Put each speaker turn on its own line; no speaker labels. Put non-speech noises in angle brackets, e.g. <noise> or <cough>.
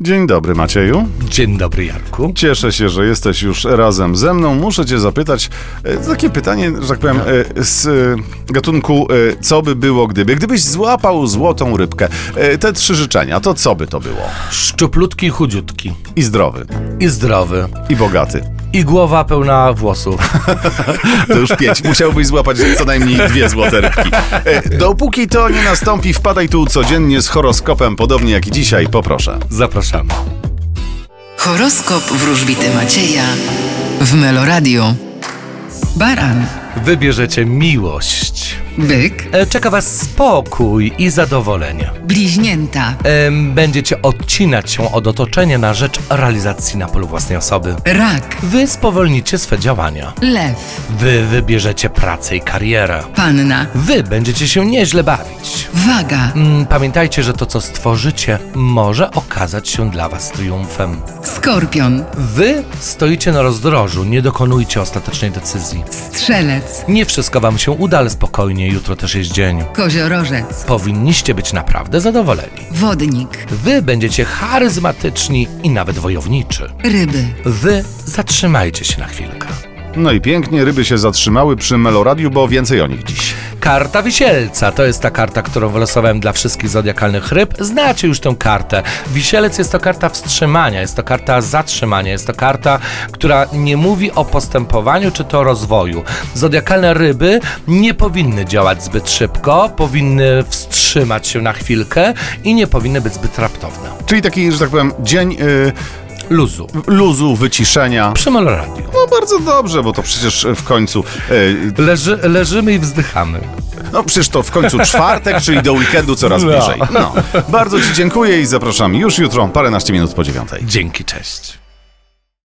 Dzień dobry, Macieju.
Dzień dobry, Jarku.
Cieszę się, że jesteś już razem ze mną. Muszę cię zapytać e, takie pytanie, że tak powiem, e, z e, gatunku e, co by było gdyby? Gdybyś złapał złotą rybkę, e, te trzy życzenia, to co by to było?
Szczuplutki, chudziutki.
I zdrowy,
I zdrowy.
i bogaty.
I głowa pełna włosów. <laughs>
To już pięć. Musiałbyś złapać co najmniej dwie złote rybki. E, Dopóki to nie nastąpi, wpadaj tu codziennie z horoskopem, podobnie jak i dzisiaj, poproszę.
Zapraszamy.
Horoskop wróżbity Macieja w Meloradio. Baran,
Wybierzecie miłość.
byk,
E, Czeka Was spokój i zadowolenie.
bliźnięta,
Em, Będziecie odcinać się od otoczenia na rzecz realizacji na polu własnej osoby.
rak,
Wy spowolnicie swe działania.
lew,
Wy wybierzecie pracę i karierę.
panna,
Wy będziecie się nieźle bawić.
waga,
Mm, Pamiętajcie, że to, co stworzycie, może okazać się dla Was triumfem.
skorpion,
Wy stoicie na rozdrożu, nie dokonujcie ostatecznej decyzji.
strzelec,
Nie wszystko wam się uda, ale spokojnie, jutro też jest dzień.
koziorożec,
Powinniście być naprawdę zadowoleni.
wodnik,
Wy będziecie charyzmatyczni i nawet wojowniczy.
ryby.
Wy zatrzymajcie się na chwilkę.
No i pięknie, ryby się zatrzymały przy Meloradiu, bo więcej o nich dziś.
Karta Wisielca to jest ta karta, którą wylosowałem dla wszystkich zodiakalnych ryb. Znacie już tę kartę. Wisielec jest to karta wstrzymania, jest to karta zatrzymania, jest to karta, która nie mówi o postępowaniu czy to rozwoju. Zodiakalne ryby nie powinny działać zbyt szybko, powinny wstrzymać się na chwilkę i nie powinny być zbyt raptowne.
Czyli taki, że tak powiem, dzień y,
Luzu.
luzu, wyciszenia.
Przy Meloradio.
No bardzo dobrze, bo to przecież w końcu. y,
Leży, leżymy i wzdychamy.
no przecież to w końcu czwartek, czyli do weekendu coraz
No.
bliżej. No. Bardzo Ci dziękuję i zapraszam już jutro, paręnaście minut po dziewiątej.
Dzięki, cześć.